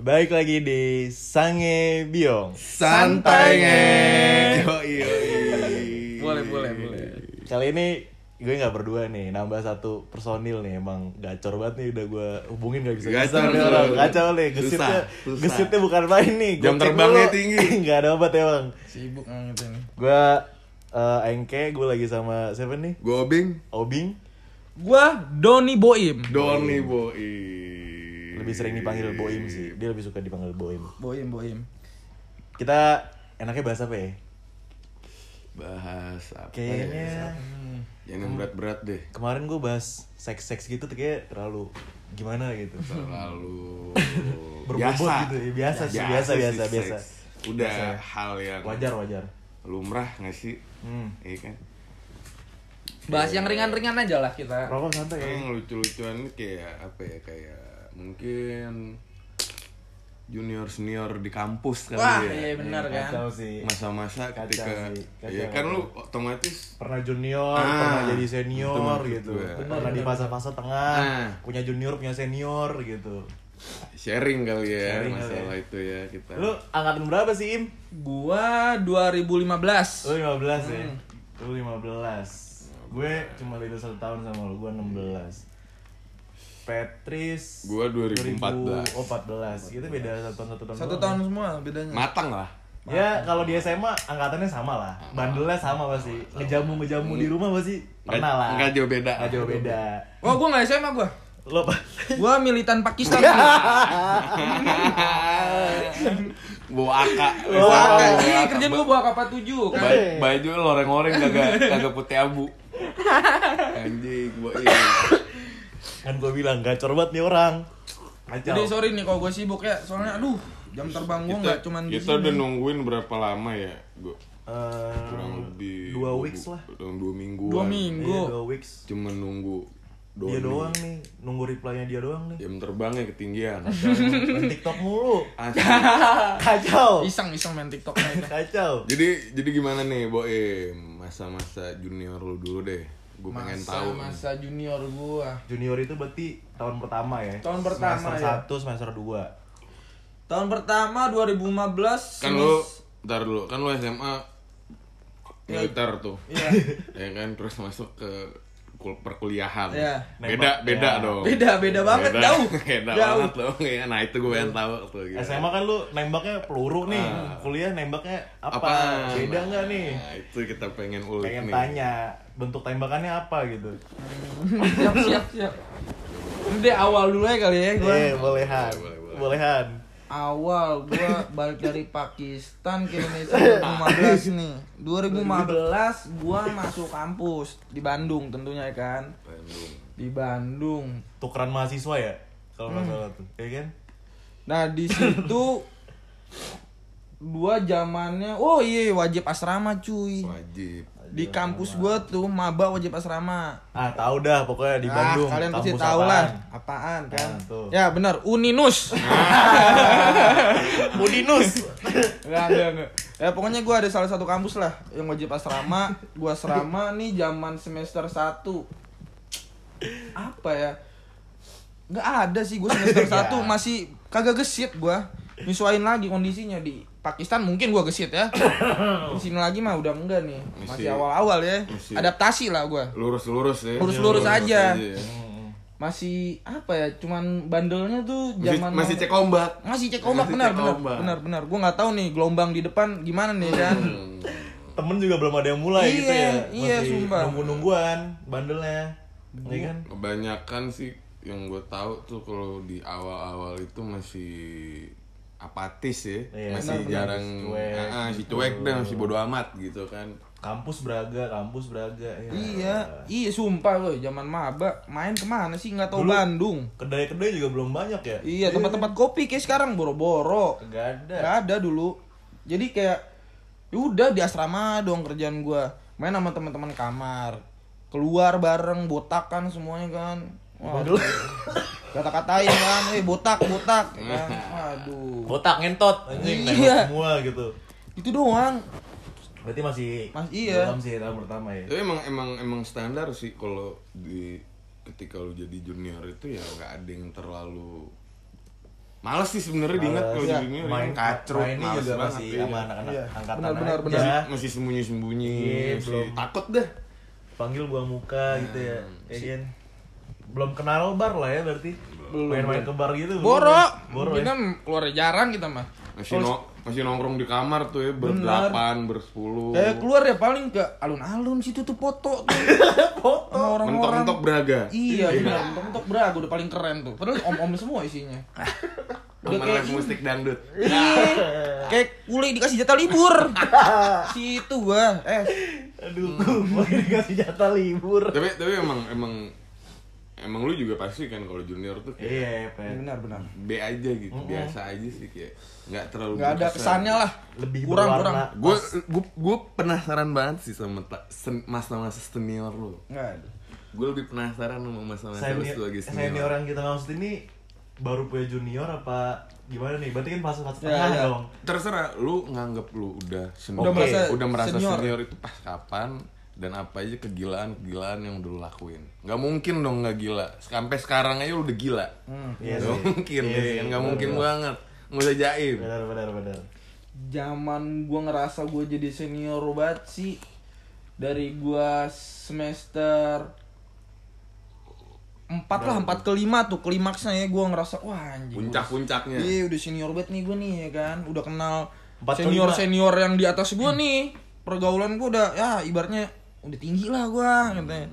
Baik lagi di Sange Biong. Santai ngeng. Boleh, boleh, boleh. Kali ini gue nggak berdua nih, nambah satu personil nih. Emang gacor banget nih udah gue hubungin gak bisa. Gacor, nih gacor. orang. Kacau nih, gesitnya, Susah, susah. gesitnya bukan main nih. Jam Gocek terbangnya dulu. tinggi. nggak ada obat ya bang. Sibuk banget ini. Gue eh, Engke, gue lagi sama siapa nih? Gobing Obing. Gua Doni Boim. Doni Boi. Lebih sering dipanggil Iya. Boim sih. Dia lebih suka dipanggil Boim. Boim, Boim. Kita enaknya bahas apa ya? Bahas apa? ya? iya, Kayaknya Yang yang berat-berat deh. kemarin gue bahas seks-seks gitu tuh kayak terlalu gimana gitu. Terlalu Berbobot gitu ya, biasa sih, biasa, biasa, sih, biasa. seks. Udah hal yang Wajar wajar. lumrah gak sih? Hmm. Iya kan? Bahas yang ringan-ringan aja lah kita. Rokok santai ya. Yang Kan lucu-lucuan ini kayak apa ya? Kayak mungkin junior senior di kampus kali Wah, ya. iya benar kan. Kacau sih. masa-masa Kacau ketika sih, kacau, ya kan kacau. lu otomatis Pernah junior, Ah, pernah jadi itu senior maksud gitu. gue. Pernah di fase-fase tengah, Ah. punya junior, punya senior gitu. sharing kali ya Sharing kali masalah ya. itu ya kita Lu angkatan berapa sih, Im? Gua 2015. Lu 15 ya. Hmm. Lu 15. Gue cuma beda satu tahun sama lu, gue 16. Petris Gua 2014. 2000 Oh 14 Itu beda satu tahun satu tahun Satu doang tahun ya. semua bedanya. matang lah Ya kalau di SMA angkatannya sama lah Bandelnya sama pasti Oh. Ngejamu-ngejamu di rumah pasti Pernah lah Ah. nggak jauh beda Nggak jauh beda Oh, gua enggak SMA gua. Lo Gua militan Pakistan. Gua bawa aka angkat. Bawa Iya, aka. kerjaan gua Ba- bawa kapal 7 kan. ba- baju loreng-loreng kagak kagak putih abu anjing iya. boy Kan gue bilang gacor banget nih orang Kacau Jadi sorry nih kalau gua sibuk ya, soalnya aduh, jam terbang gua kita enggak cuman di kita udah sini. nungguin berapa lama ya gua Eh, kurang lebih dua dua weeks bu- lah dua minggu Dua Iya dua minggu. weeks cuman nunggu Dia Doni. doang nih Nunggu reply-nya dia doang nih jam terbangnya ketinggian Main TikTok mulu Asli. Kacau Iseng-iseng main TikTok aja. Kacau jadi jadi gimana nih boem masa-masa junior lu dulu deh gue pengen tahu Masa junior gua. Junior itu berarti tahun pertama ya Tahun pertama, Semester ya. satu, semester dua Tahun pertama 2015 kan lu ntar dulu kan lu SMA Ya. militer tuh Iya. ya kan terus masuk ke kul- perkuliahan Iya. beda Nembak, beda ya. dong Beda, beda banget, jauh. beda Jauh. banget dong Iya, nah itu gue pengen tahu tuh gitu. gimana. SMA kan lu nembaknya peluru nih Kuliah nembaknya apa? Ah. Apaan? Beda nggak nih? Nah, itu kita pengen ulik Pengen nih tanya Bentuk tembakannya apa gitu siap siap siap ini deh awal dulu ya kali ya gua Eh bolehan Boleh, boleh. Bolehan awal gua balik dari Pakistan ke Indonesia 2015 nih 2015 gua masuk kampus di Bandung tentunya ya kan Bandung. di Bandung Tukeran mahasiswa ya? Kalau nggak Hmm. salah tuh Iya kan? nah di situ dua zamannya oh iya wajib asrama cuy wajib di kampus gua tuh maba wajib asrama Ah tahu dah pokoknya di Ah, Bandung. kalian pasti kampus tahu lah apaan. apaan kan Ah, tuh. ya benar Uninus Udinus. Enggak, enggak, enggak. Ya pokoknya gue ada salah satu kampus lah yang wajib asrama. Gue asrama nih zaman semester 1. Apa ya? Enggak ada sih gue semester Iya. 1 masih kagak gesit gue. Nyesuain lagi kondisinya di Pakistan mungkin gue gesit ya. Di sini lagi mah udah enggak nih. Masih Masih- awal-awal ya. masih- Adaptasi lah gue. lurus-lurus ya Lurus-lurus aja. ya. Masih apa ya? Cuman bandelnya tuh Masih, zaman masih cek ombak masih cek ombak Masih benar, cek benar ombak. benar benar gue nggak tahu nih gelombang di depan gimana nih kan Hmm. Temen juga belum ada yang mulai Iya, gitu ya. iya, Masih sumpah. Nunggu-nungguan bandelnya. Iya kan? kebanyakan sih yang gue tahu tuh kalau di awal-awal itu masih apatis ya Iya, masih benar-benar. jarang Cuek Ah, ah, si gitu. cuek dan masih bodo amat gitu kan Kampus Braga, kampus Braga. Ya. Iya, iya sumpah loh, zaman maba main kemana sih nggak tahu Dulu- Bandung. Kedai-kedai juga belum banyak ya? Iya tempat-tempat kopi kayak sekarang boro-boro. Enggak ada. Gak ada dulu. Jadi kayak yaudah di asrama doang kerjaan gua. Main sama teman-teman kamar. Keluar bareng botakan semuanya kan. Wah, kata-katain kan, eh botak, botak. ya Kan. Waduh. Botak ngentot anjing Iya. nembak semua gitu. Itu doang. Berarti masih Mas- iya. belum sih tahun pertama ya. tapi emang emang emang standar sih kalau di ketika lu jadi junior itu ya nggak ada yang terlalu Males sih sebenarnya diingat Males, kalau iya. diingat main kacrut, mainnya males juga banget, masih iya. sama anak-anak Iya. angkatan Benar, benar, aja. benar. masih sembunyi-sembunyi, Iya, masih belum. takut dah. panggil buang muka gitu ya Hmm. ya kan? belum kenal bar lah ya berarti main-main ke bar gitu belum Boro, ya? boro ya kita keluar jarang kita mah. Masih no- masih nongkrong di kamar tuh ya berdelapan, bersepuluh. Eh, Kayak keluar ya paling ke alun-alun situ tuh foto tuh. foto sama orang-orang. Mentok-mentok beraga. Iya, benar. Mentok-mentok beragu udah paling keren tuh. Padahal om-om semua isinya. Udah Sama kayak live musik dangdut. Iya. Kayak kuli dikasih jatah libur. Situ gua. Eh, aduh Hmm. gua dikasih jatah libur tapi tapi emang emang emang lu juga pasti kan kalau junior tuh kayak iya Pen. benar benar. B aja gitu, biasa aja sih kayak nggak terlalu Enggak ada kesannya lah. lebih kurang berwarna. kurang. Gue gue penasaran banget sih sama ta- sen- masa-masa senior lu. Enggak ada. Gue lebih penasaran sama masa-masa lu senior, sebagai senior senior. yang kita maksud ini baru punya junior apa gimana nih berarti kan fase-fase Ya, tengah ya. dong Terserah lu nganggep lu udah senior. Udah Oke. merasa udah merasa senior. senior. itu pas kapan dan apa aja kegilaan-kegilaan yang udah lu lakuin. Nggak mungkin dong nggak gila. Sampai sekarang aja lu udah gila. Hmm. Iya Nggak sih. mungkin, Iya ya sih, kan? nggak benar, mungkin benar. banget. Nggak usah jaim. benar benar benar Zaman gua ngerasa gua jadi senior banget sih dari gua semester empat lah empat kelima tuh klimaksnya ya gua ngerasa wah anjing Puncak-puncaknya. Iya udah senior banget nih gue nih ya kan Udah kenal Empat senior kelima. senior yang di atas gue nih Pergaulan gue udah ya ibaratnya udah tinggi lah gue katanya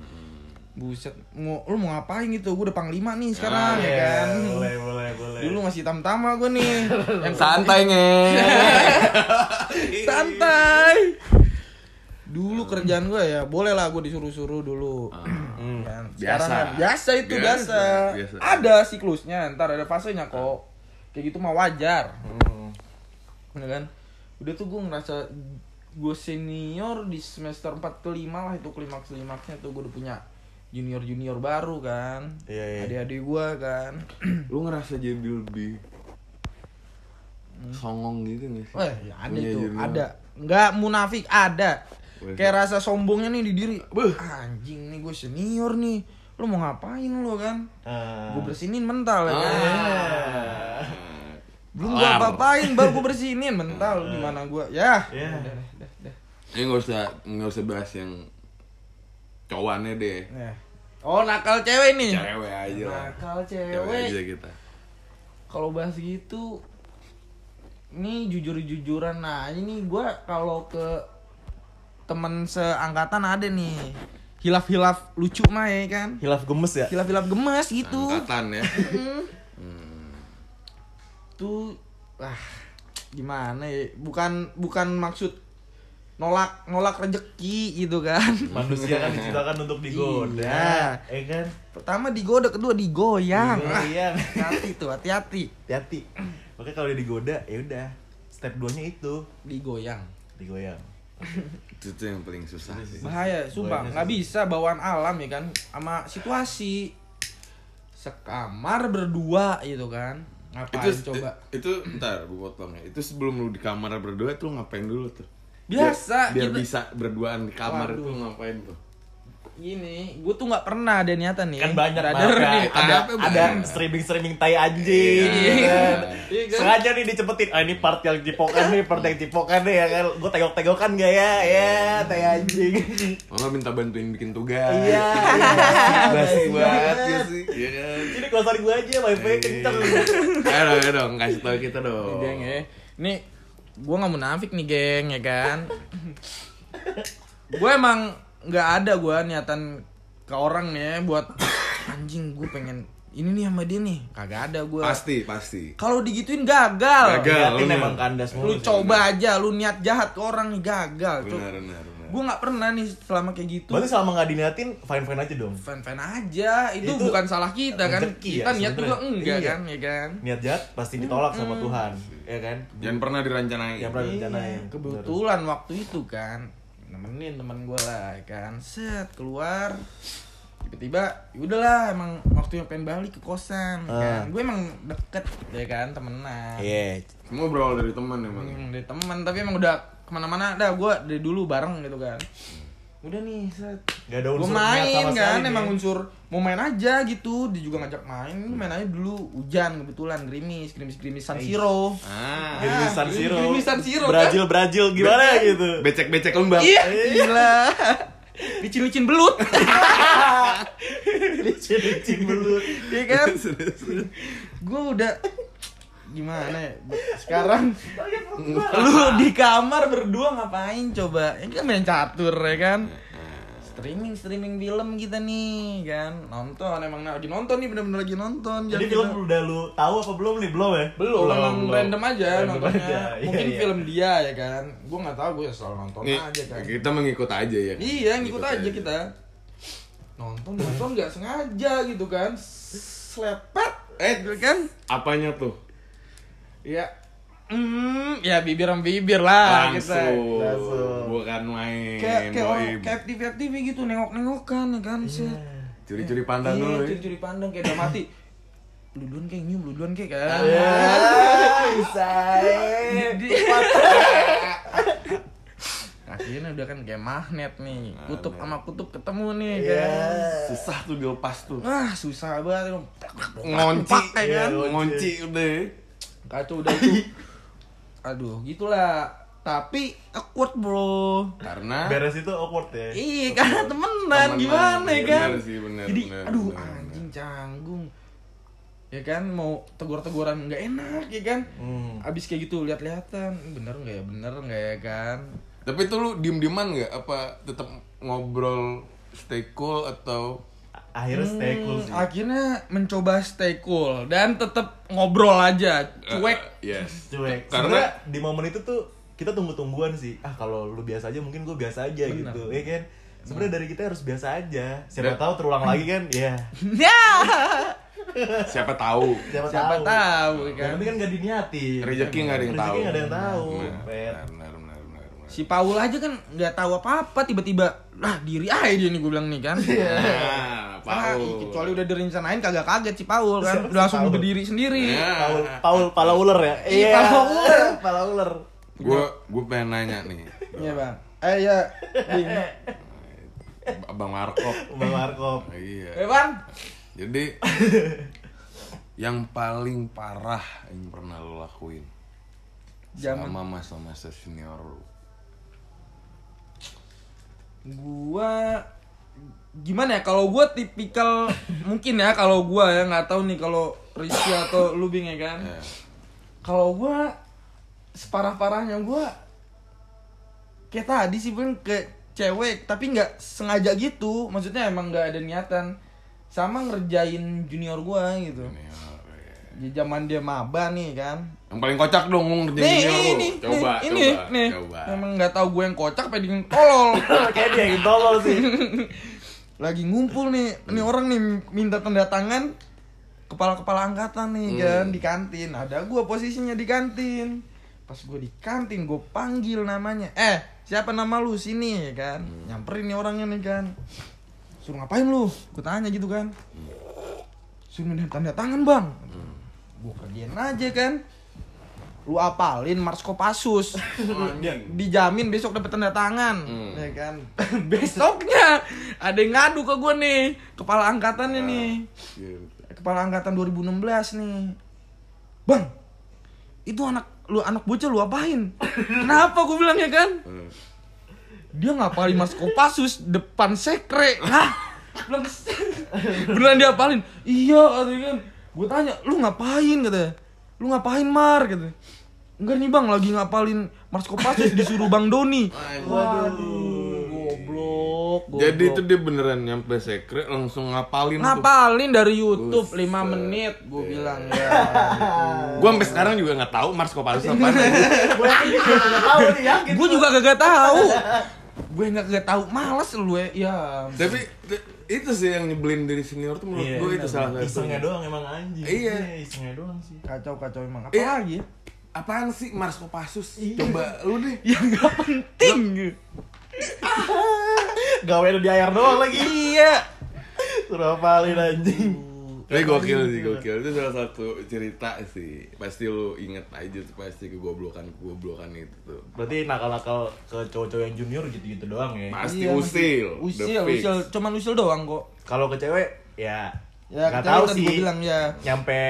Buset mau, lu mau ngapain gitu gue udah panglima nih sekarang ya Iya, kan boleh boleh boleh Dulu masih tam-tama gue nih yang Santai nge. santai Dulu kerjaan gue ya boleh lah gue disuruh-suruh dulu Hmm. Ah. Kan, Biasa. sekarang kan, biasa itu Biasa, biasa. biasa. Ada siklusnya, ntar ada fasenya kok. Kayak gitu mah wajar. Hmm. Ya kan? Udah tuh gue ngerasa gue senior di semester 4 ke 5 lah itu klimaks-klimaksnya tuh gue udah punya junior-junior baru kan. Iya, iya. Adik-adik gue kan. lu ngerasa jadi lebih songong gitu gak sih? Hmm. Wah, ya ada Punya itu, junior. ada. Enggak munafik, ada. Wah, Kayak rasa sombongnya nih di diri. Anjing nih gue senior nih. Lu mau ngapain lu kan? Nah. Ah. Gue bersinin mental ya. kan? Ah. Belum gua Kelar. apa-apain, baru gua bersihinin Nah. mental gimana gua. Ya. Ya. Udah, dah, dah, dah. Ini gak usah Ya, nggak usah bahas yang cowannya deh. Ya. Oh, nakal cewek nih. Iya. Cewek aja lah. Nakal Cewek aja cewek. kita. Kalau bahas gitu nih jujur-jujuran nah ini gua kalau ke temen seangkatan ada nih hilaf-hilaf lucu mah ya kan hilaf gemes ya hilaf-hilaf gemes gitu Mm. Angkatan ya. tuh ah gimana ya bukan bukan maksud nolak nolak rezeki gitu kan manusia kan diciptakan untuk digoda Iya. eh kan Pertama digoda, kedua digoyang. Digoyang. Hati-hati tuh, hati-hati. hati-hati makanya kalau dia digoda ya udah step 2 nya itu Digoyang. digoyang itu tuh yang paling susah sih. Bahaya, sumpah. Nggak bisa bawaan alam ya kan. Sama situasi. Sekamar berdua gitu kan. Ngapain Itu eh, coba? itu ntar gue potong ya. Itu sebelum lu di kamar berdua tuh ngapain dulu tuh? Biasa, Biar, biar kita- bisa berduaan di kamar Waduh. itu ngapain tuh? Gini, gue tuh nggak pernah ada niatan nih. kan banyak Iya, brother, banget nih. Ada ada apa, ada Bang? streaming streaming tai anjing Iya. gitu kan. Iya kan? sengaja nih dicepetin ah ini part yang cipokan nih part yang cipokan nih ya kan gue tengok tengokan gak ya ya tai anjing Mama minta bantuin bikin tugas. Iya. Basi Iya. banget ya sih. Iya kan. ini kosan gue aja wifi kenceng Ayo dong, ayo dong, kasih tau kita Nih, dong. geng ya. Nih, gue nggak munafik nih geng ya kan. gue emang nggak ada gue niatan ke orang ya buat anjing gue pengen ini nih sama dia nih kagak ada gue Pasti, pasti. kalau digituin gagal, Gagal. Liatin bener. emang kandas lu mulu sih. coba aja lu niat jahat ke orang nih gagal Benar, benar, benar. gue nggak pernah nih selama kayak gitu berarti selama gak diniatin fine fine aja dong fan fan aja itu, Itu bukan salah kita kan rezeki ya, kita niat juga sebenernya. enggak Iya. kan ya kan niat jahat pasti ditolak sama Tuhan ya kan Jangan pernah dirancanain. yang pernah rencanain Iya, kebetulan waktu itu kan nemenin teman gue lah ya kan set keluar tiba-tiba yaudahlah emang waktunya pengen balik ke kosan ya kan Ah. gue emang deket ya kan temenan iya Semua berawal Iya. dari teman emang. Hmm, dari teman tapi emang udah kemana-mana dah gue dari dulu bareng gitu kan udah nih set Nggak ada gue unsur niat main sama kan sekali emang nih. unsur mau main aja gitu dia juga ngajak main main aja dulu hujan kebetulan gerimis gerimis gerimis Eh, San Siro Ah, Gerimis San Siro. Gerimis San Siro, kan? Brazil Brazil gimana gitu. becek-becek lembab. iya gila licin-licin belut Licin-licin belut. Iya kan? gue udah gimana ya? Sekarang lu di kamar berdua ngapain coba? Ini kan main catur ya kan? Streaming streaming film kita nih kan nonton emang lagi nonton nih bener-bener lagi nonton Jadi Jangan film kita- udah lu tahu apa belum nih? Belum ya? belum emang random aja Random nontonnya aja, iya, mungkin iya. film dia ya kan gue nggak tahu gue selalu nonton Nih, aja kan kita mengikut aja ya. Iya, ngikut aja kita. Nonton nonton nggak sengaja gitu kan. Slepet. Eh, gitu kan? Apanya tuh? Ya. Hmm, ya bibir sama bibir lah Langsung. Ah, kita. Bukan main. Kayak kayak boy. orang- kayak FTV FTV gitu nengok-nengokan ya kan sih. Curi-curi pandang Iya, dulu. ya. curi-curi pandang kayak udah mati. Lu duluan kayak nyium, lu duluan kayak kan. Iya. bisa. Akhirnya udah kan kayak magnet nih. Kutub sama kutub ketemu nih kan. Susah tuh dilepas tuh. Wah, susah banget. Ngonci, Pak, ya kan? ngonci udah. ya. Kacau udah itu. Aduh, gitulah. Tapi awkward bro. Karena Beres itu awkward ya. Iya, karena Eh, Temenan, temenan, gimana ya iya, kan? bener sih, bener, Jadi, bener, aduh bener, bener. anjing canggung. Ya kan mau tegur-teguran nggak enak ya kan? Hmm. Abis kayak gitu lihat-lihatan, bener nggak ya, bener nggak ya kan? Tapi itu lu diem-dieman nggak? Apa tetap ngobrol stay cool atau Akhirnya stay cool Hmm, sih. akhirnya mencoba stay cool dan tetap ngobrol aja, cuek. Eh, yes. Cuek. Karena Karena di momen itu tuh kita tunggu-tungguan sih. Ah kalau lu biasa aja mungkin gue biasa aja Bener. gitu. Ya kan? Sebenarnya dari kita harus biasa aja. Siapa tahu terulang lagi kan? Ya. Ya, siapa tahu siapa tahu ya Yang kan? penting kan gak diniatin. rezeki nggak ada Rezeki yang tahu. Nah, nggak ada yang tahu. Benar, Pet. benar, benar, benar, benar. Si Paul aja kan nggak tahu apa-apa tiba-tiba lah diri aja dia nih gue bilang nih kan. Nah, Ah, Paul. kecuali udah direncanain kagak kaget si Paul kan. Siapa Udah si langsung Paul? Iya. berdiri sendiri. Nah. Paul Paul pala ular ya. Iya, pala ular. pala ular. Gue gue pengen nanya nih, Iya, Bang. Eh, iya. Ding. Abang Marco. Bang Markop. Eh, Iya. Bang. Jadi yang paling parah yang pernah lo lakuin Zaman sama masa-masa senior lo. gua gimana ya kalau gua tipikal mungkin ya kalau gua ya nggak tahu nih kalau Rizky atau Lubing ya kan. Eh, Kalau gua separah-parahnya gua kayak tadi sih pun ke cewek tapi nggak sengaja gitu. Maksudnya emang nggak ada niatan sama ngerjain junior gua gitu. senior, ya. Di zaman dia maba nih kan. Yang paling kocak dong lu ngerjain Nih, senior ini, lo. ini, Coba, nih, ini, coba, nih. coba. Emang nggak tahu gue yang kocak, pengen tolol. Kayak dia yang tolol sih. Lagi ngumpul nih, ini orang nih minta tanda tangan kepala-kepala angkatan nih kan di kantin. Ada gue posisinya di kantin. Pas gue di kantin, gue panggil namanya. Eh, siapa nama lu sini ya kan? Nyamperin nih orangnya nih kan. Suruh ngapain lu? Gue tanya gitu kan. Suruh minta tanda tangan bang. Gue kerjain aja kan. Lu apalin Marsko Pasus. dijamin besok dapat tanda tangan Hmm. ya kan besoknya ada yang ngadu ke gue nih kepala angkatannya nih Gitu. kepala angkatan 2016 nih bang itu anak lu anak bocah lu apain kenapa gue bilang ya kan Eh, dia ngapalin mas Kopassus depan sekre Hah? Bilang, beneran dia apalin iya katanya kan gue tanya lu ngapain katanya lu ngapain mar katanya enggak nih bang lagi ngapalin mas Kopassus disuruh bang doni waduh goblok, goblok. Jadi itu dia beneran nyampe sekre langsung ngapalin tuh. ngapalin dari YouTube Buset. 5 menit gue bilang ya Gua sampai sekarang juga nggak tahu Mars Kopassus apaan. Gue yakin dia nggak tahu nih yakin. gue juga kagak tahu gue nggak kagak tahu males lu ya ya Tapi t- itu sih yang nyebelin dari senior tuh menurut Iya, gue itu bener. salah Isengnya satu. doang emang anjing. Iya. isengnya doang sih. kacau kacau emang apa Iya. lagi ya? Apaan sih Mars Kopassus? Iya. Coba lu deh. yang Ya, nggak penting gitu. Gawe di air doang lagi. iya Suruh apalin anjing. Aduh, Tapi Eh, gokil sih, Iya. gokil. Itu salah satu cerita sih. Pasti lu inget aja tuh pasti kegoblokan-kegoblokan itu tuh. Berarti nakal-nakal ke cowok-cowok yang junior gitu-gitu doang ya. Pasti Iya, usil. the Usil, fix. usil, cuman usil doang kok. Kalau ke cewek ya Ya, nggak kita tahu tadi sih. gua bilang ya. Nyampe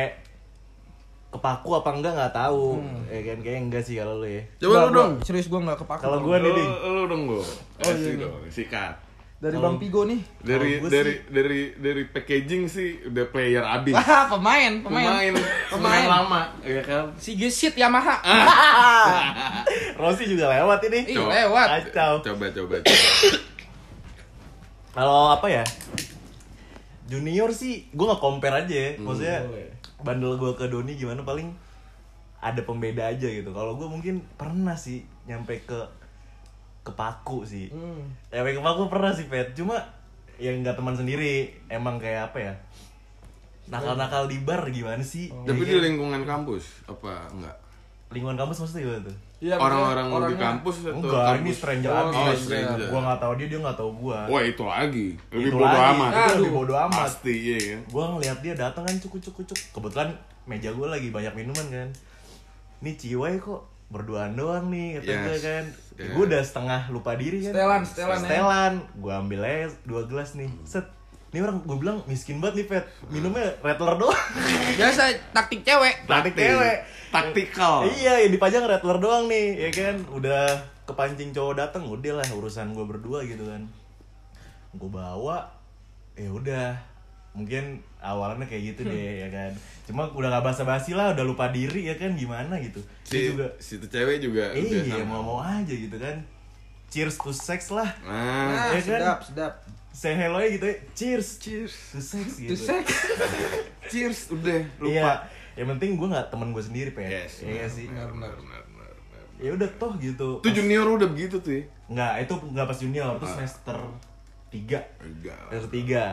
kepaku apa enggak nggak tahu. Hmm. Ya kan kayaknya enggak sih kalau lu ya. Coba Nggak, lu gua- dong. Serius gua nggak kepaku. Kalau Bang. gua nih Lu, Ding. lu dong gua. Oh, iya, Kasih iya. dong, sikat. dari Bang Pigo nih. Dari Kalau gua dari dari dari packaging sih udah player abis. Wah, pemain, pemain. Pemain, pemain lama, ya kan? Si Gesit Yamaha. Ah, Rosi juga lewat ini. Ih, lewat. Kacau. Coba coba. coba. Kalau apa ya? Junior sih, gue nggak compare aja. ya. Maksudnya bandel gue ke Doni gimana paling ada pembeda aja gitu. Kalau gue mungkin pernah sih nyampe ke ke Paku sih. Hmm. Nyampe ke Paku pernah sih Pet. Cuma yang nggak teman sendiri, emang kayak apa ya? Nakal-nakal di bar gimana sih? Iya. Tapi di lingkungan kampus apa enggak? Lingkungan kampus maksudnya gimana tuh? Iya, Orang-orang maksudnya di kampus atau Enggak, ini kampus? stranger oh, abis. Oh, stranger. Gue nggak tahu dia, dia nggak tahu gue. Wah itu lagi lebih Itu bodo lagi, amat. itu lebih Aduh, bodo amat. Pasti iya kan. gue ya. ngeliat dia datang kan cukup cukup cukup kebetulan meja gue lagi banyak minuman kan ini ciwai kok berduaan doang nih kata Yes, gue kan yes. gue udah setengah lupa diri kan Setelan, setelan ya. gue ambil aja dua gelas nih set ini orang gue bilang miskin banget nih pet minumnya rattler doang Biasa taktik cewek. Taktik cewek. Taktikal. iya yang dipajang rattler doang nih ya kan udah kepancing cowok dateng udah lah urusan gue berdua gitu kan gue bawa ya udah mungkin awalannya kayak gitu Hmm. deh ya kan cuma udah gak basa-basi lah udah lupa diri ya kan gimana gitu Si, dia juga si tuh cewek juga Ya udah iya sama. mau mau aja gitu kan cheers to sex lah Nah, Nah, Iya kan? sedap, sedap. say hello nya gitu ya cheers cheers. to sex gitu Itu seks. Cheers udah lupa. iya yang penting gue nggak temen gue sendiri pe Yes. iya sih Benar benar benar benar. benar. ya udah toh gitu Itu junior udah begitu tuh. ya? Nggak, itu nggak pas junior, Ah. itu semester 3 Enggak. lah. Semester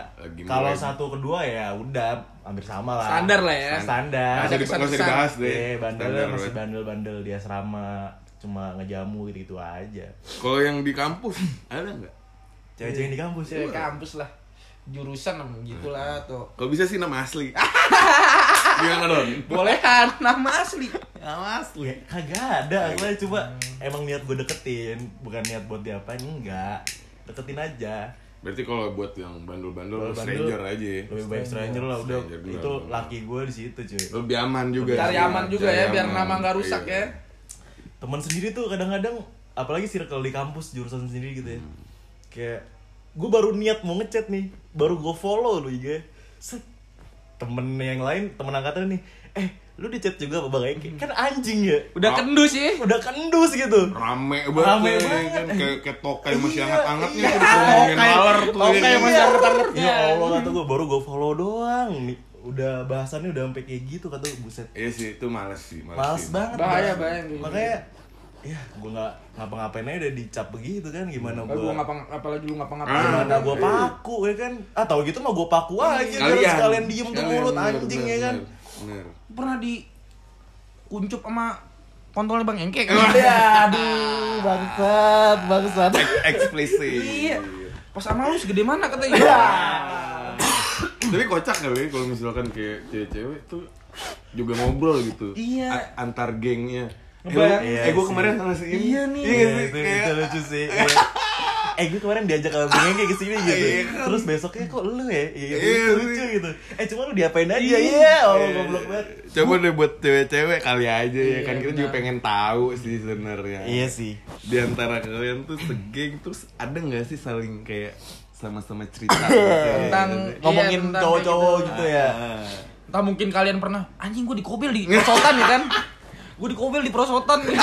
3 Lagi Kalau mulai. satu kedua ya udah hampir sama lah Standar lah ya. Standar Nggak usah di- nggak usah kesan-kesan. dibahas deh. Iya, Standar, bandelnya masih weh. bandel-bandel di asrama Cuma ngejamu gitu-gitu aja Kalau yang di kampus ada enggak? Cewek-cewek di kampus ya, Cewek Iya, Iya. kampus lah. Jurusan em, Ah. gitulah tuh. Kalau bisa sih nama asli. Gimana dong? Boleh kan nama asli. Awas lu ya, kagak Iya. ada Gue cuma emang niat gue deketin Bukan niat buat diapain, enggak Deketin aja Berarti kalau buat yang bandel-bandel Kalau bandel, stranger aja ya. Lebih baik stranger lah udah Stranger dulu. Itu laki gue di situ cuy Lebih aman juga. Cari sih. aman juga ya Cari biar aman. nama nggak rusak Iya. ya. teman sendiri tuh kadang-kadang apalagi circle di kampus jurusan sendiri gitu ya kayak gue baru niat mau ngechat nih baru gue follow lu IG set temen yang lain temen angkatan nih eh lu di chat juga apa bang Eki kan anjing ya Udah Ah. kendus sih. udah kendus gitu Rame banget. Rame ya, banget. Kan kayak kayak tokai masih Iya, hangat-hangatnya iya. tuh ngomongin Tokai. maler tuh. ya Tokai kan? masih hangat-hangatnya. ya Allah kata gue baru gue follow doang nih udah bahasannya udah sampai kayak gitu kata gua, buset Iya sih, itu males sih. Males, Males sih. banget Bahaya, Bang. bahaya yang kayak gitu. Makanya Ya gue gak ngapa-ngapain aja udah dicap begitu kan Gimana Lalu gua gue ngapa apalagi lu ngapa ngapain. Ah. Gimana gue paku ya kan Ah tau gitu mah gue paku aja Biar Sekalian. sekalian diem ke Sekalian, mulut bener, anjing bener, ya kan bener, bener. Pernah di kuncup sama kontolnya Bang Engke. kan? Ya aduh bangsat bangsat Eksplisit. Iya. Pas sama lu segede mana katanya? Tapi kocak gak ya kalau misalkan kayak cewek-cewek tuh juga ngobrol gitu. Iya. A- antar gengnya. Eh, lu- Ngebayang. eh gue Iya kemarin sama si ini. Iya nih. Iya, Iya gak sih? itu, Kayak- itu lucu sih iya. Eh gue kemarin diajak sama Bung Engke kesini gitu Iya kan. Terus besoknya kok lu ya Iya Iya, gitu, sih. lucu gitu Eh cuma lu diapain aja Iya Allah goblok banget Coba deh buat cewek-cewek kali aja ya Iya, kan kita juga benar. pengen tahu sih sebenarnya. Iya sih Di antara kalian tuh segeng terus ada nggak sih saling kayak sama-sama cerita gitu? Tentang Iya, Ngomongin bentar, cowok-cowok kayak gitu ya Entah mungkin kalian pernah anjing gue dikobel di prosotan ya kan? Gue dikobel di prosotan. Ya,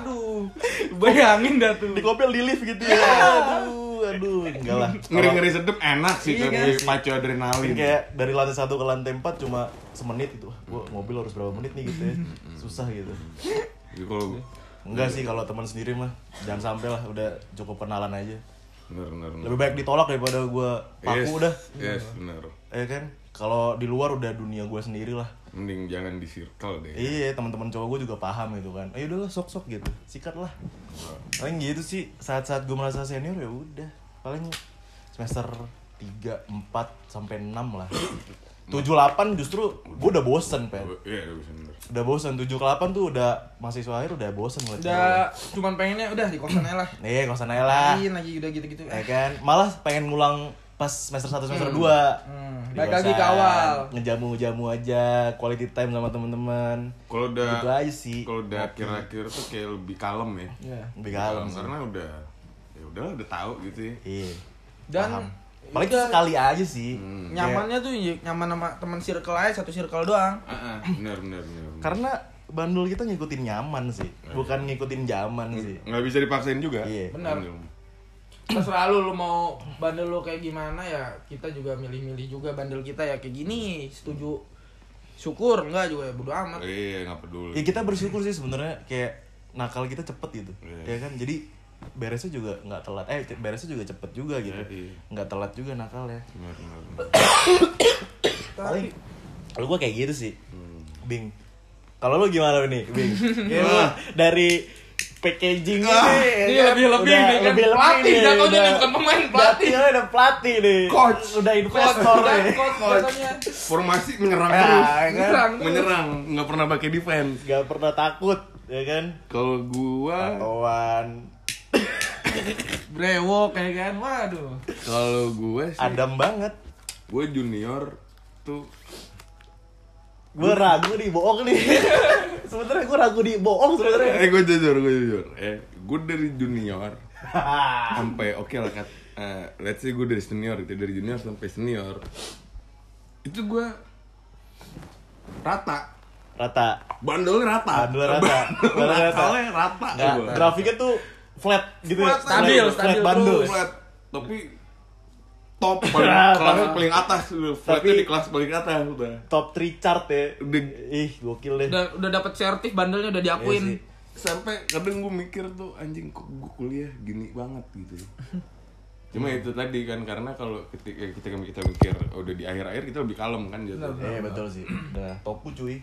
aduh. Bayangin dah tuh. dikopil di lift gitu ya aduh aduh enggak lah Ngeri-ngeri sedep enak sih Iya, tapi kan? Mungkin pacu adrenalin. kayak dari lantai satu ke lantai empat cuma semenit gitu Wah, gua mobil harus berapa menit nih gitu ya susah gitu Jadi kalau enggak sih kalau teman sendiri mah jangan sampai lah udah cukup kenalan aja bener bener. bener. lebih baik ditolak daripada gua yes, paku udah Yes, bener. ya kan kalau di luar udah dunia gua sendiri lah Mending jangan di circle deh. Iya, teman-teman cowok gue juga paham gitu kan. Ayo udahlah sok-sok gitu. Sikat lah. Paling gitu sih saat-saat gue merasa senior ya udah. Paling semester tiga empat sampai enam lah tujuh delapan justru gue udah bosen pen Iya, iya, bener. udah bosen tujuh delapan tuh udah mahasiswa akhir udah bosen ngeliat Udah cuman pengennya udah di kosan aja lah. cewek. iya nggak usah naik lah Lain lagi udah gitu-gitu. ya kan malah pengen ngulang pas semester satu semester dua Hmm, Di balik lagi ke kosan, awal. ngejamu-jamu aja quality time sama teman-teman Kalau udah gitu aja sih kalau udah akhir-akhir tuh kayak lebih kalem ya. Iya. lebih kalem sih. karena udah ya udah udah tahu gitu ya. iya Dan kan paham. paling tuh sekali aja sih Hmm. nyamannya tuh ya, nyaman sama teman circle aja satu circle doang. Ah, ah, bener bener bener. bener. karena bandul kita ngikutin nyaman sih Iya. bukan ngikutin zaman sih nggak bisa dipaksain juga. Iya. Benar. Terserah lu, lu mau bandel lu kayak gimana ya kita juga milih-milih juga bandel kita ya kayak gini setuju syukur enggak juga ya bodo amat Eh, Iya, nggak peduli. ya kita bersyukur sih sebenarnya kayak nakal kita cepet gitu Iya. ya kan jadi beresnya juga nggak telat eh ce- beresnya juga cepet juga gitu Iya, iya. nggak telat juga nakal ya Bener, bener, bener. paling kalau gue kayak gitu sih Hmm. bing kalau lu gimana nih bing Kayak lu dari packaging nih, dia ya kan? lebih-lebih Udah Iya, nih kan. Pelatih, nih, jatuhnya dia udah- bukan pemain, pelatih. Jatuhnya udah pelatih nih Coach. udah investor Coach, nih coach, biasanya. Formasi menyerang Ya, terus. kan? Menyerang. Menyerang, nggak pernah pakai defense. nggak pernah takut ya kan Kalau gua, kawan brewok kayak kan waduh kalau gua sih, adam banget gua junior tuh gue ragu nih bohong nih sebenernya gue ragu nih bohong sebenernya eh gue jujur gue jujur eh gue dari junior sampai oke lah kat eh, let's say gue dari senior gitu dari junior sampai senior itu gue rata rata bandelnya rata Bandelnya rata. bandel Bandelnya rata. nakalnya rata nggak gua. grafiknya tuh flat gitu ya Flat, stabil, flat, stabil bandel terus. flat tapi top paling Nah, kelas tapi- paling atas flatnya tapi- di kelas paling atas udah top 3 chart ya Udah- ih gokil deh udah udah dapat sertif bandelnya udah diakuin Iya sih. sampai kadang gue mikir tuh anjing kok gue kuliah gini banget gitu cuma itu tadi kan karena kalau ketika kita kita mikir oh, udah di akhir-akhir kita lebih kalem kan jatuh Iya betul sih. Udah topu cuy.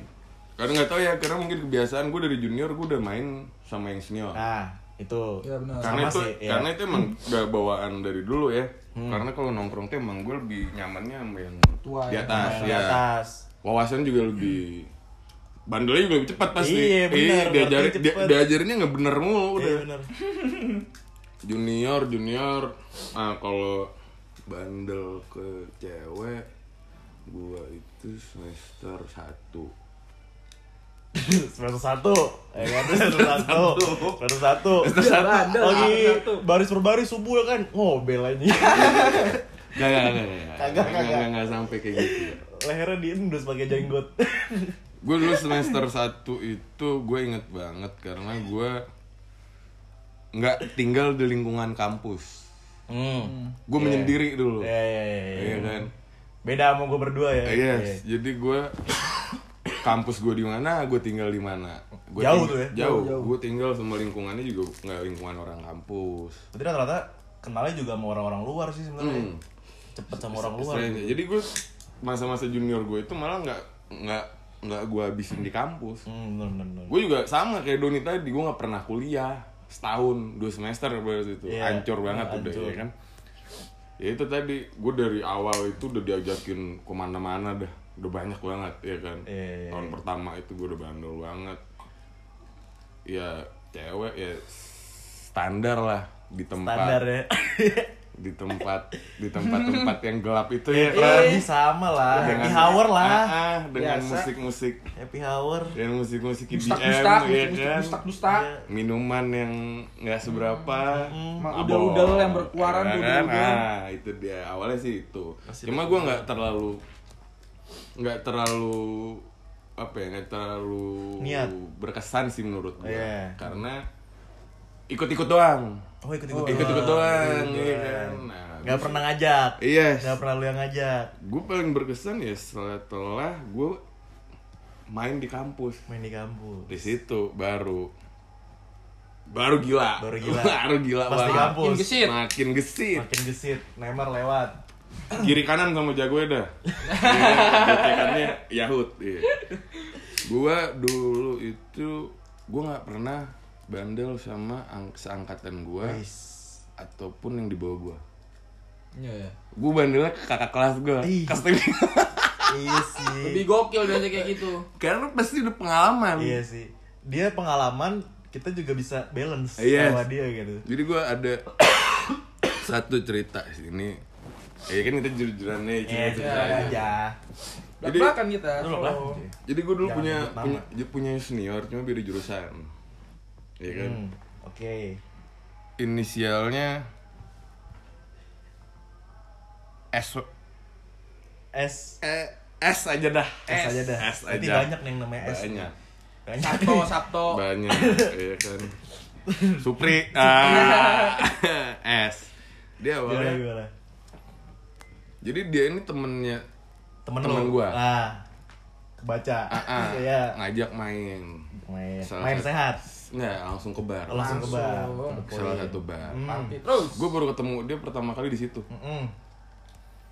karena nggak tahu ya karena mungkin kebiasaan gue dari junior gue udah main sama yang senior Nah, itu. Iya, benar. karena Sama itu sih, Hmm. ya. karena itu emang udah bawaan dari dulu ya karena kalau nongkrong tuh emang gue lebih nyamannya sama yang Tua di ya. atas Yang ya Nah, atas. wawasan juga lebih bandelnya juga lebih cepat pasti Iya, bener. Iya, diajarin Ngerti dia, cepet. diajarinnya nggak bener mulu udah Iya benar. junior junior nah kalau bandel ke cewek gua itu semester satu Semester satu, ya kan? Semester satu, semester satu. Semester satu. Lagi Semester satu. baris per baris subuh ya kan? Ngobel aja. gak gak gak gak Kagak, kagak. sampai kayak gitu Lehernya diendus pakai jenggot. gue dulu semester satu itu gue inget banget karena gue nggak tinggal di lingkungan kampus Hmm. gue menyendiri dulu Iya iya iya, iya iya. kan Iya, Beda sama gue berdua ya. yes jadi gue kampus gue di mana gue tinggal di mana Gua Jauh ting- tuh ya? jauh, gue tinggal sama lingkungannya juga nggak lingkungan orang kampus Berarti rata-rata kenalnya juga sama orang-orang luar sih sebenarnya. Hmm. Iya. Cepet sama orang luar. Selain- jadi gue masa-masa junior gue itu malah nggak nggak nggak gue habisin di kampus Hmm, bener, bener, bener. gue juga sama kayak Doni tadi gue nggak pernah kuliah setahun dua semester berarti itu Iya, hancur banget udah hancur. ya kan ya itu tadi gue dari awal itu udah diajakin kemana-mana dah udah banyak banget ya kan Iya. tahun pertama itu gue udah bandel banget ya cewek ya standar lah di tempat Standar ya. di tempat di tempat-tempat yang gelap itu ya kan Iya, sama lah. Happy hour lah. Ah, ah, dengan Biasa. musik-musik Happy hour. dan musik-musik EDM Dustak, eh, dustak, ya dustak, kan dustak, dustak. Iya. minuman yang nggak seberapa Hmm. Mak mabok, udel-udel yang berkeluaran, ya kan? udel-udel. nah itu dia awalnya sih itu cuma gue nggak terlalu nggak terlalu apa ya nggak terlalu Niat. berkesan sih menurut gue Iya. karena ikut-ikut doang Oh ikut-ikut ikut-ikut doang ya kan nah, Iya. Gak pernah ngajak. Yes. Gak pernah lu yang ngajak. gue paling berkesan ya setelah gue main di kampus Main di kampus. di situ baru baru gila Baru gila. baru gila Pas di banget. kampus. Makin gesit. makin gesit Makin gesit. Neymar lewat. kiri kanan sama jago ya dah Iya, gocekannya yahut iya. gua dulu itu gua nggak pernah bandel sama ang- seangkatan gua Wis. ataupun yang di bawah gua Iya, iya. gue bandelnya ke kakak kelas Ih. gue iya sih Lebih gokil biasanya kayak gitu. karena pasti udah pengalaman iya sih dia pengalaman kita juga bisa balance Yes. sama dia gitu jadi gue ada satu cerita sini ya kan kita jujur-jujuran nih Iya, cerita cerita aja Jadi- Belak-belakan kita. Lu lah follow. jadi gue dulu Jangan punya, sebut nama. punya dia punya senior cuma beda jurusan ya kan Hmm, oke inisialnya S S eh, S aja dah S aja dah S Berarti aja banyak nih yang namanya S Oh. banyak banyak Sabto, Sabto. banyak ya kan Supri ah, S dia gimana awalnya gimana jadi dia ini temennya temen, Temen lu gua. ah kebaca AA Iya. ngajak main main Salah main satu. sehat nggak langsung ke bar Oh, langsung ke bar Langsung. ke salah satu bar Hmm. Mati terus. gue baru ketemu dia pertama kali di situ Mm-mm.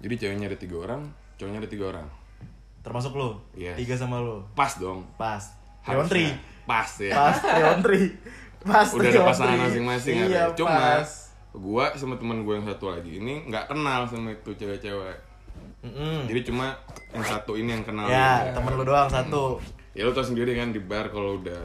jadi ceweknya ada tiga orang cowoknya ada tiga orang termasuk lu Yes. tiga sama lu pas dong pas Iya. Harusnya. Leontri pas ya pas Leontri pas udah ada Leontri. pasangan masing-masing iya, ada cuma pas. gue sama teman gue yang satu lagi ini nggak kenal sama itu cewek-cewek Mm-mm. jadi cuma yang satu ini yang kenal ya gitu. temen lu doang satu ya lo tau sendiri kan di bar kalau udah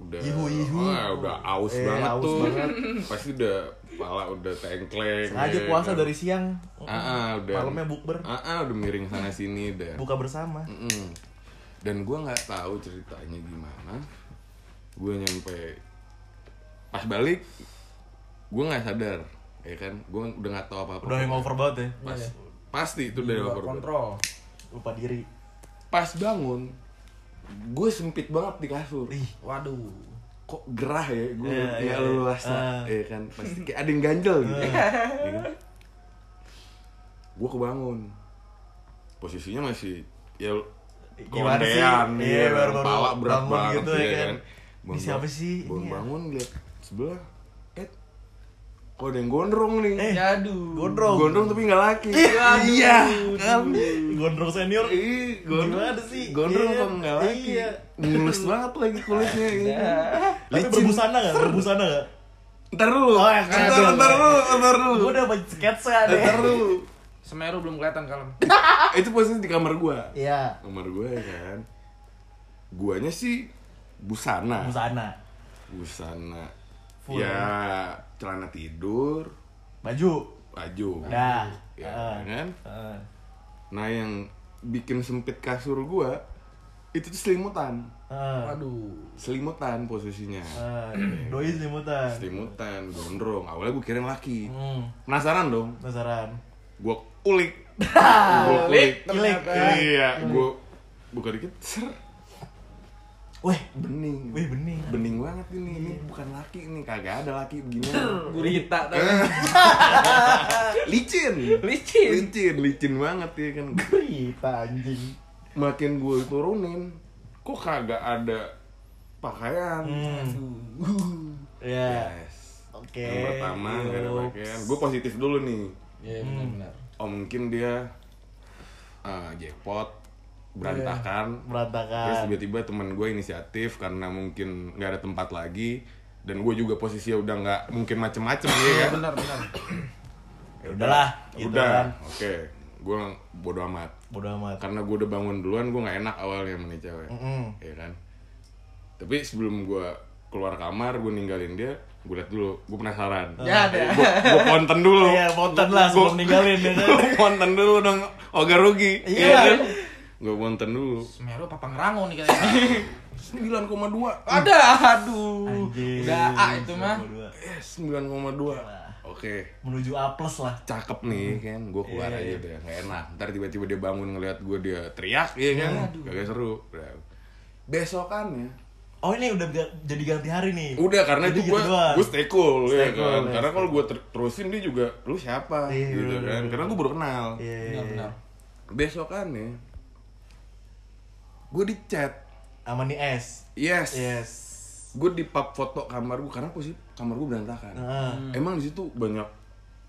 udah Ihu, ihu. wah, udah aus Eh, banget aus tuh banget. pasti udah kepala udah tengkleng sengaja ya puasa kan. dari siang ah, ah, udah malamnya bukber ah, ah, udah miring sana sini dan buka bersama Mm-mm. Mm. dan gua nggak tahu ceritanya gimana gue nyampe pas balik gue nggak sadar ya kan gue udah nggak tahu apa apa udah Iya, yang over banget ya pas pasti itu udah Luar over Iya. kontrol. lupa diri pas bangun gue sempit banget di kasur ih Waduh. kok gerah ya gue Iya, nggak iya, iya. leluasa Ah. ya kan pasti kayak ada yang ganjel gitu gue kebangun posisinya masih ya eh, Gimana sih? kondean, Iya, ya, baru-baru kepala berat bangun banget iya gitu ya kan. Ini siapa sih? Ini bangun ya? bangun lihat sebelah eh kok ada yang gondrong nih Eh, Yaduh. gondrong gondrong tapi nggak laki iya kan gondrong senior Ih, Iya, gondrong Gimana sih? Gondrong Iya, apa nggak laki? iya. Nah. Mulus banget lagi kulitnya. gitu. tapi Licin. berbusana nggak berbusana nggak Ntar dulu. Oh, ya, kan. ntar, ntar dulu, ntar dulu. gue udah banyak sketsa deh Ntar dulu. Semeru belum kelihatan kalem. Itu posisi di kamar gua. iya Kamar gua ya kan. Guanya sih busana. busana Busana. Full. Ya, celana tidur, baju baju. Nah. Ya, Ah. kan? Eh, Nah, yang bikin sempit kasur gua itu tuh selimutan. eh, Waduh. Selimutan posisinya. eh, doi selimutan Selimutan, gondrong. Awalnya gua kirain laki. hmm Penasaran dong. penasaran gue ulik gue ulik Klik. iya Hmm. gue buka dikit ser Weh, bening weh bening. Iya. bening banget ini ini bukan laki ini kagak ada laki begini Iya, Gurita tapi licin licin. licin licin banget ya kan Berita anjing. makin gue turunin kok kagak ada pakaian Ya. yes Oke. yang pertama gak ada yuk. pakaian gue positif dulu nih Iya, benar-benar. oh mungkin dia eh, jackpot berantakan Iya. Terus Berantakan. tiba-tiba teman gue inisiatif karena mungkin nggak ada tempat lagi dan gue juga posisinya udah nggak mungkin macem-macem ya Iya, kan? Benar, benar. Ya udahlah, gitu udah, Kan. kan. oke, gue bodo amat Bodo amat. karena gue udah bangun duluan gue nggak enak awalnya sama nih cewek, Mm-mm. ya kan? Tapi sebelum gue keluar kamar gue ninggalin dia, gue liat dulu, gue penasaran, Ya, ada. gue konten dulu, Iya, ponten lah sebelum ninggalin ya kan. gue konten dulu dong, ogah rugi, Iya. gue konten dulu, Semeru apa Pangrango nih kayaknya. 9,2 Ada, aduh. Anjing. Udah A itu mah. 92. Yes, 9,2. Oke, Menuju A plus lah. cakep nih kan. Gue keluar Iya, aja udah nggak enak. Ntar tiba-tiba dia bangun ngeliat gue dia teriak, ya kan? Iya, Kagak seru. Udah. Besokannya Oh ini udah ga- jadi ganti hari nih. udah karena Jadi gitu itu gue doang. gue stay cool Stay ya kan cool, ya, karena stay kalau gue ter- terusin dia juga lu siapa Iya, gitu bener, kan bener. karena gue baru kenal Iya. Benar-benar. besokannya gue di chat Sama nih S. yes, Yes. gue di pub foto kamar gue karena posisi kamar gue berantakan Hmm. Heeh. Emang di situ banyak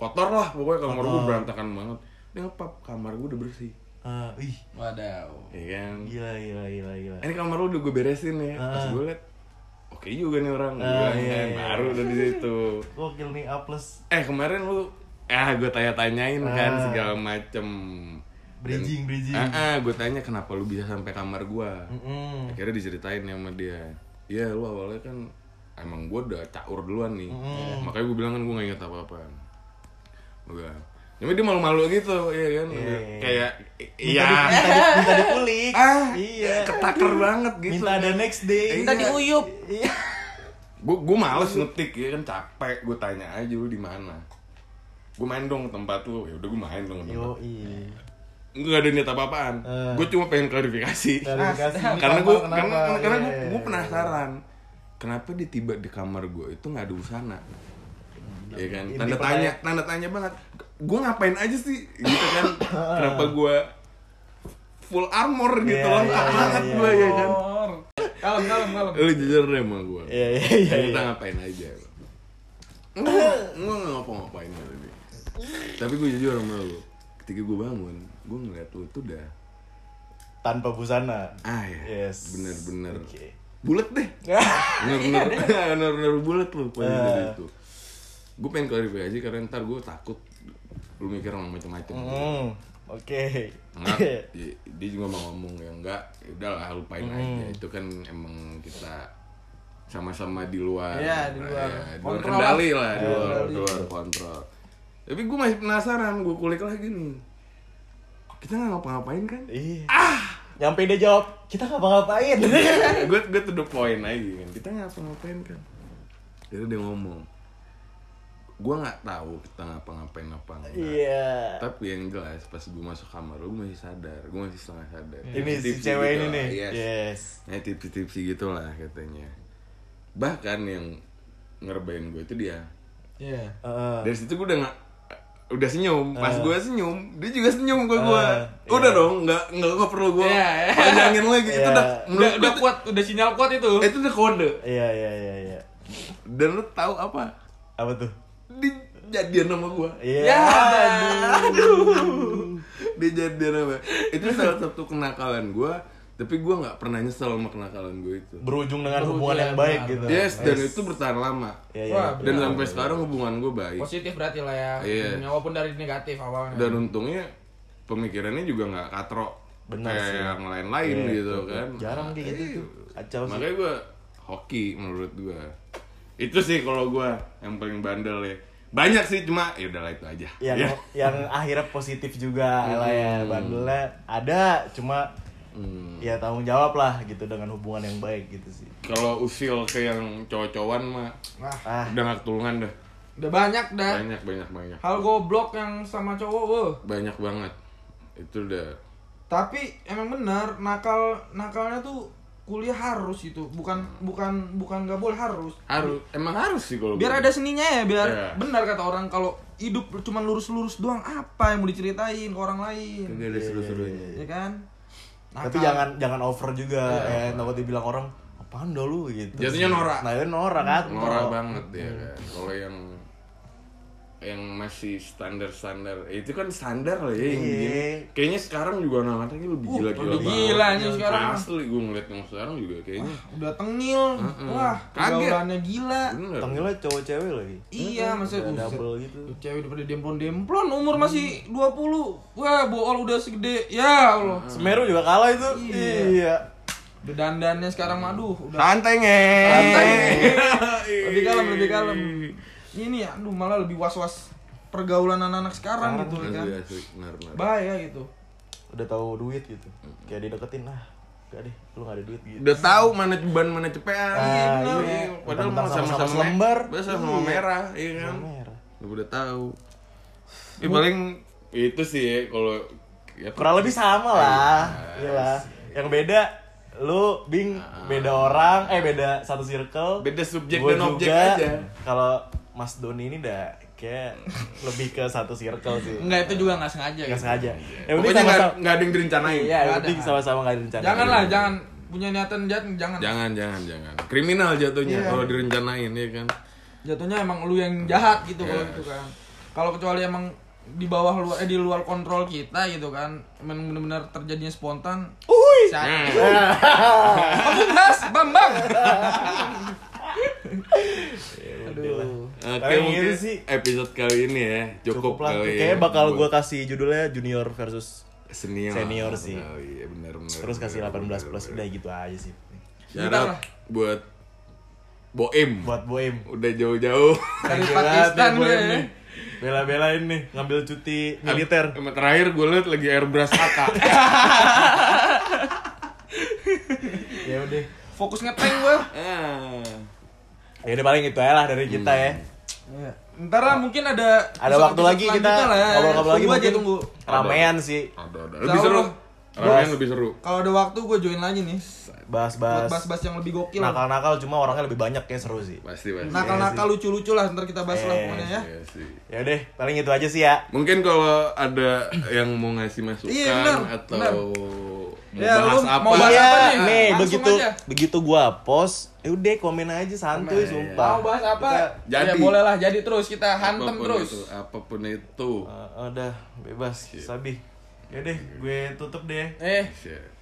kotor lah pokoknya kamar gue Kotor. berantakan banget. Dia ngepap kamar gue udah bersih. Eh, ih, Waduh. Iya kan. gila gila gila gila. Ini kamar lu udah gue beresin ya. Pas Iya. Ah. gue liat oke juga nih orang. Gua Ah, bilang iya, kan, iya. Baru udah di situ. Gokil nih A plus. Eh kemarin lu ah gue tanya-tanyain kan Ah. segala macem Bridging, bridging. ah, ah gue tanya kenapa lu bisa sampai kamar gua Mm-mm. akhirnya diceritain sama dia iya lu awalnya kan emang gue udah caur duluan nih makanya gue bilang kan gue gak inget apa apaan gue cuma dia malu-malu gitu iya kan Iya. kayak i- iya Minta di- minta di- minta dipulik. ah Iya. ketaker banget gitu Minta ada next day. Minta Iya. diuyup. gue gue males ngetik ya kan capek gue tanya aja lu di mana gue main dong ke tempat lu ya udah gue main dong ke Ah, Yo, tempat iya. nggak ada niat apa-apaan Eh. gue cuma pengen klarifikasi Klarifikasi. Nah, Ini karena kamar gue kenapa? karena karena gue Iya. gue penasaran kenapa dia tiba di kamar gue itu nggak ada busana Iya kan Ini tanda pertanyaan- tanya tanda tanya banget gue ngapain aja sih gitu kan Ah. kenapa gue full armor gitu Iya, lengkap iya, banget iya, gue ya kan Kalem, kalem, kalem. lu jujur deh sama gue Iya, iya, iya, kita iya. ngapain aja enggak enggak ngapa-ngapain kali ini. tapi gue jujur sama lu ketika gue bangun gue ngeliat lu tuh udah Tanpa busana. ah ya Yes. bener-bener Oke. bulet deh Nah. bener-bener bener-bener bulet lu poin Eh. dari itu gue pengen klarifikasi karena ntar gue takut lu mikir orang macam-macam Hmm. Mm, Oke. Enggak, dia, dia juga mau ngomong ya enggak, ya udahlah lupain Hmm. aja. Itu kan emang kita sama-sama di luar. Iya, di Nah, luar. ya, di luar Kontrol Iya, kendali lah, di luar, di luar kontrol. Tapi gue masih penasaran, gue kulik lagi nih. Kita nggak ngapa-ngapain kan? Iya. Nyampe dia jawab, kita ngapa-ngapain. gue gue to the point aja kan. Kita nggak ngapa-ngapain kan? Jadi dia ngomong, gue nggak tahu kita ngapa-ngapain apa enggak. Iya. Tapi yang jelas pas gue masuk kamar, gue masih sadar, gue masih setengah sadar. Iya. Ini si Tipsi-tipsi cewek gitu ini lah, nih. Iya. yes. Yes. ya tipsi-tipsi gitu lah katanya bahkan yang ngerbain gue itu dia Iya. Heeh. dari situ gue udah nggak udah senyum pas gue senyum dia juga senyum ke gue Eh, udah Ah. iya. dong nggak nggak nggak perlu gue Iya, iya. panjangin lagi itu Iya. udah Udah, menurut udah gue kuat, udah sinyal kuat itu. itu udah kode Iya, iya, iya, iya. dan lu tahu apa Apa tuh? dia jadian sama gue Iya. Ya, aduh dia jadian sama itu salah satu kenakalan gue tapi gue nggak pernah nyesel sama kenakalan gue itu Berujung dengan Berujung hubungan yang dengan baik benar. gitu. yes dan itu bertahan lama Iya, Wah, iya. dan sampai sekarang hubungan gue baik Positif berarti lah ya. Iya. Ujungnya, Walaupun dari negatif awalnya. dan untungnya pemikirannya juga nggak katro Benar kayak sih. Iya, yang lain-lain gitu kan Jarang dia gitu Iya. tuh. Kacau sih. makanya gue hoki menurut gue itu sih kalau gue yang paling bandel ya banyak sih cuma ya udahlah itu aja yang Ya. yang akhirnya positif juga lah ya bandelnya ada cuma Hmm. ya tanggung jawab lah gitu dengan hubungan yang baik gitu sih kalau usil ke yang cowok-cowan mah ah Wah, udah nggak ketulungan dah udah banyak dah. banyak banyak banyak Hal goblok yang sama cowok, weh. banyak banget itu udah tapi emang benar nakal nakalnya tuh kuliah harus itu bukan bukan bukan nggak boleh harus harus emang harus sih kalau biar gua. ada seninya ya biar Iya. benar kata orang kalau hidup cuma lurus-lurus doang apa yang mau diceritain ke orang lain Kagak ada seru-serunya ya kan tapi Nakal. jangan jangan over juga ya takut dibilang orang apaan dah lu gitu Jatuhnya norak. nah itu norak kan norak banget ya Hmm. kan kalau yang yang masih standar standar itu kan standar lah ya Iya. yang begini kayaknya sekarang juga anak anaknya lebih Uh, gila gila udah gila nih sekarang. asli gue ngeliat yang sekarang juga kayaknya udah tengil Mm-mm. wah Kaget. pergaulannya gila bener tanggalnya cowok cewek lagi iya maksudnya Udah buset. double gitu Tuh cewek daripada demplon-demplon Mm. umur masih 20 wah bool udah segede ya Allah semeru juga kalah itu Iya. iya udah dandannya sekarang maduh udah santai ngeng Santai. lebih kalem lebih kalem ini ya, aduh malah lebih was was pergaulan anak anak sekarang gitu ya kan asli asli benar benar bahaya gitu udah tahu duit gitu kayak dideketin ah gak deh lu gak ada duit gitu udah tahu mana ceban mana cepean Ah, bener. iya. padahal Tentang mau sama-sama sama-sama selembar. biasa sama Iya. merah iya kan merah Lu udah tahu ya paling itu sih ya, kalau Iya, ya, kurang lebih sama lah Iya. Iyalah. yang beda lu bing beda orang eh beda satu circle Ah. Beda subjek Gua dan objek juga, aja. kalau Mas Doni ini udah kayak lebih ke satu circle sih enggak itu juga nggak sengaja nggak gitu. sengaja yang penting Iya. Pokoknya Ya nggak sama-sama nggak ada yang direncanain. iya yang Nggak ada. penting sama-sama nggak Iya, direncanain janganlah jangan punya niatan jahat jangan Jangan, jangan, jangan. Kriminal jatuhnya Iya. kalau direncanain ya kan. jatuhnya emang lu yang jahat gitu kalau Yes. gitu kan kalau kecuali emang di bawah luar eh di luar kontrol kita gitu kan emang benar-benar terjadinya spontan Uy! saat Nah, bambang bambang aduh eh, Oke, Kayak mungkin gitu sih. episode kali ini ya Cukup cukup, lah. kali. ya Kayaknya bakal buat gue kasih judulnya junior versus senior, senior sih. Oh, iya, benar, benar, terus kasih 18 benar, benar, plus benar. udah gitu aja sih. Shout Bentar out lah. buat Boim. Buat Boem. Udah jauh-jauh. Dari Gila, Pakistan ya. tuh Boem gue. nih. Bela-belain nih ngambil cuti militer. Em- Terakhir gue liat lagi airbrush AK. ya udah. Fokus ngeteng gue. Ah. Ya udah paling itu aja lah dari kita ya. Ntar lah mungkin ada Ada waktu lagi kita ngobrol-ngobrol lagi Tunggu ya. aja mungkin tunggu. Ramean sih. Ada, ada. Lebih seru. Jauh. Ramen lebih seru. Kalau ada waktu gue join lagi nih. Buat Bahas-bahas bahas-bahas yang lebih gokil. nakal-nakal cuma orangnya lebih banyak kayak seru sih. Pasti pasti. Nakal-nakal lucu-lucu lah ntar kita bahas lah pokoknya ya. Iya sih. Ya udah, paling itu aja sih ya. Mungkin kalau ada yang mau ngasih masukan Iya, benar, atau benar. mau Ya, lu bahas mau apa? bahas Iya, apa nih? nih Langsung begitu aja. begitu gua post, ya udah komen aja santuy sumpah. Mau bahas apa? Jadi. Ya boleh lah jadi terus kita hantem Apapun terus. itu, apapun itu. Eh, udah bebas, sabi. Ya deh, gue tutup deh. Eh, Shit.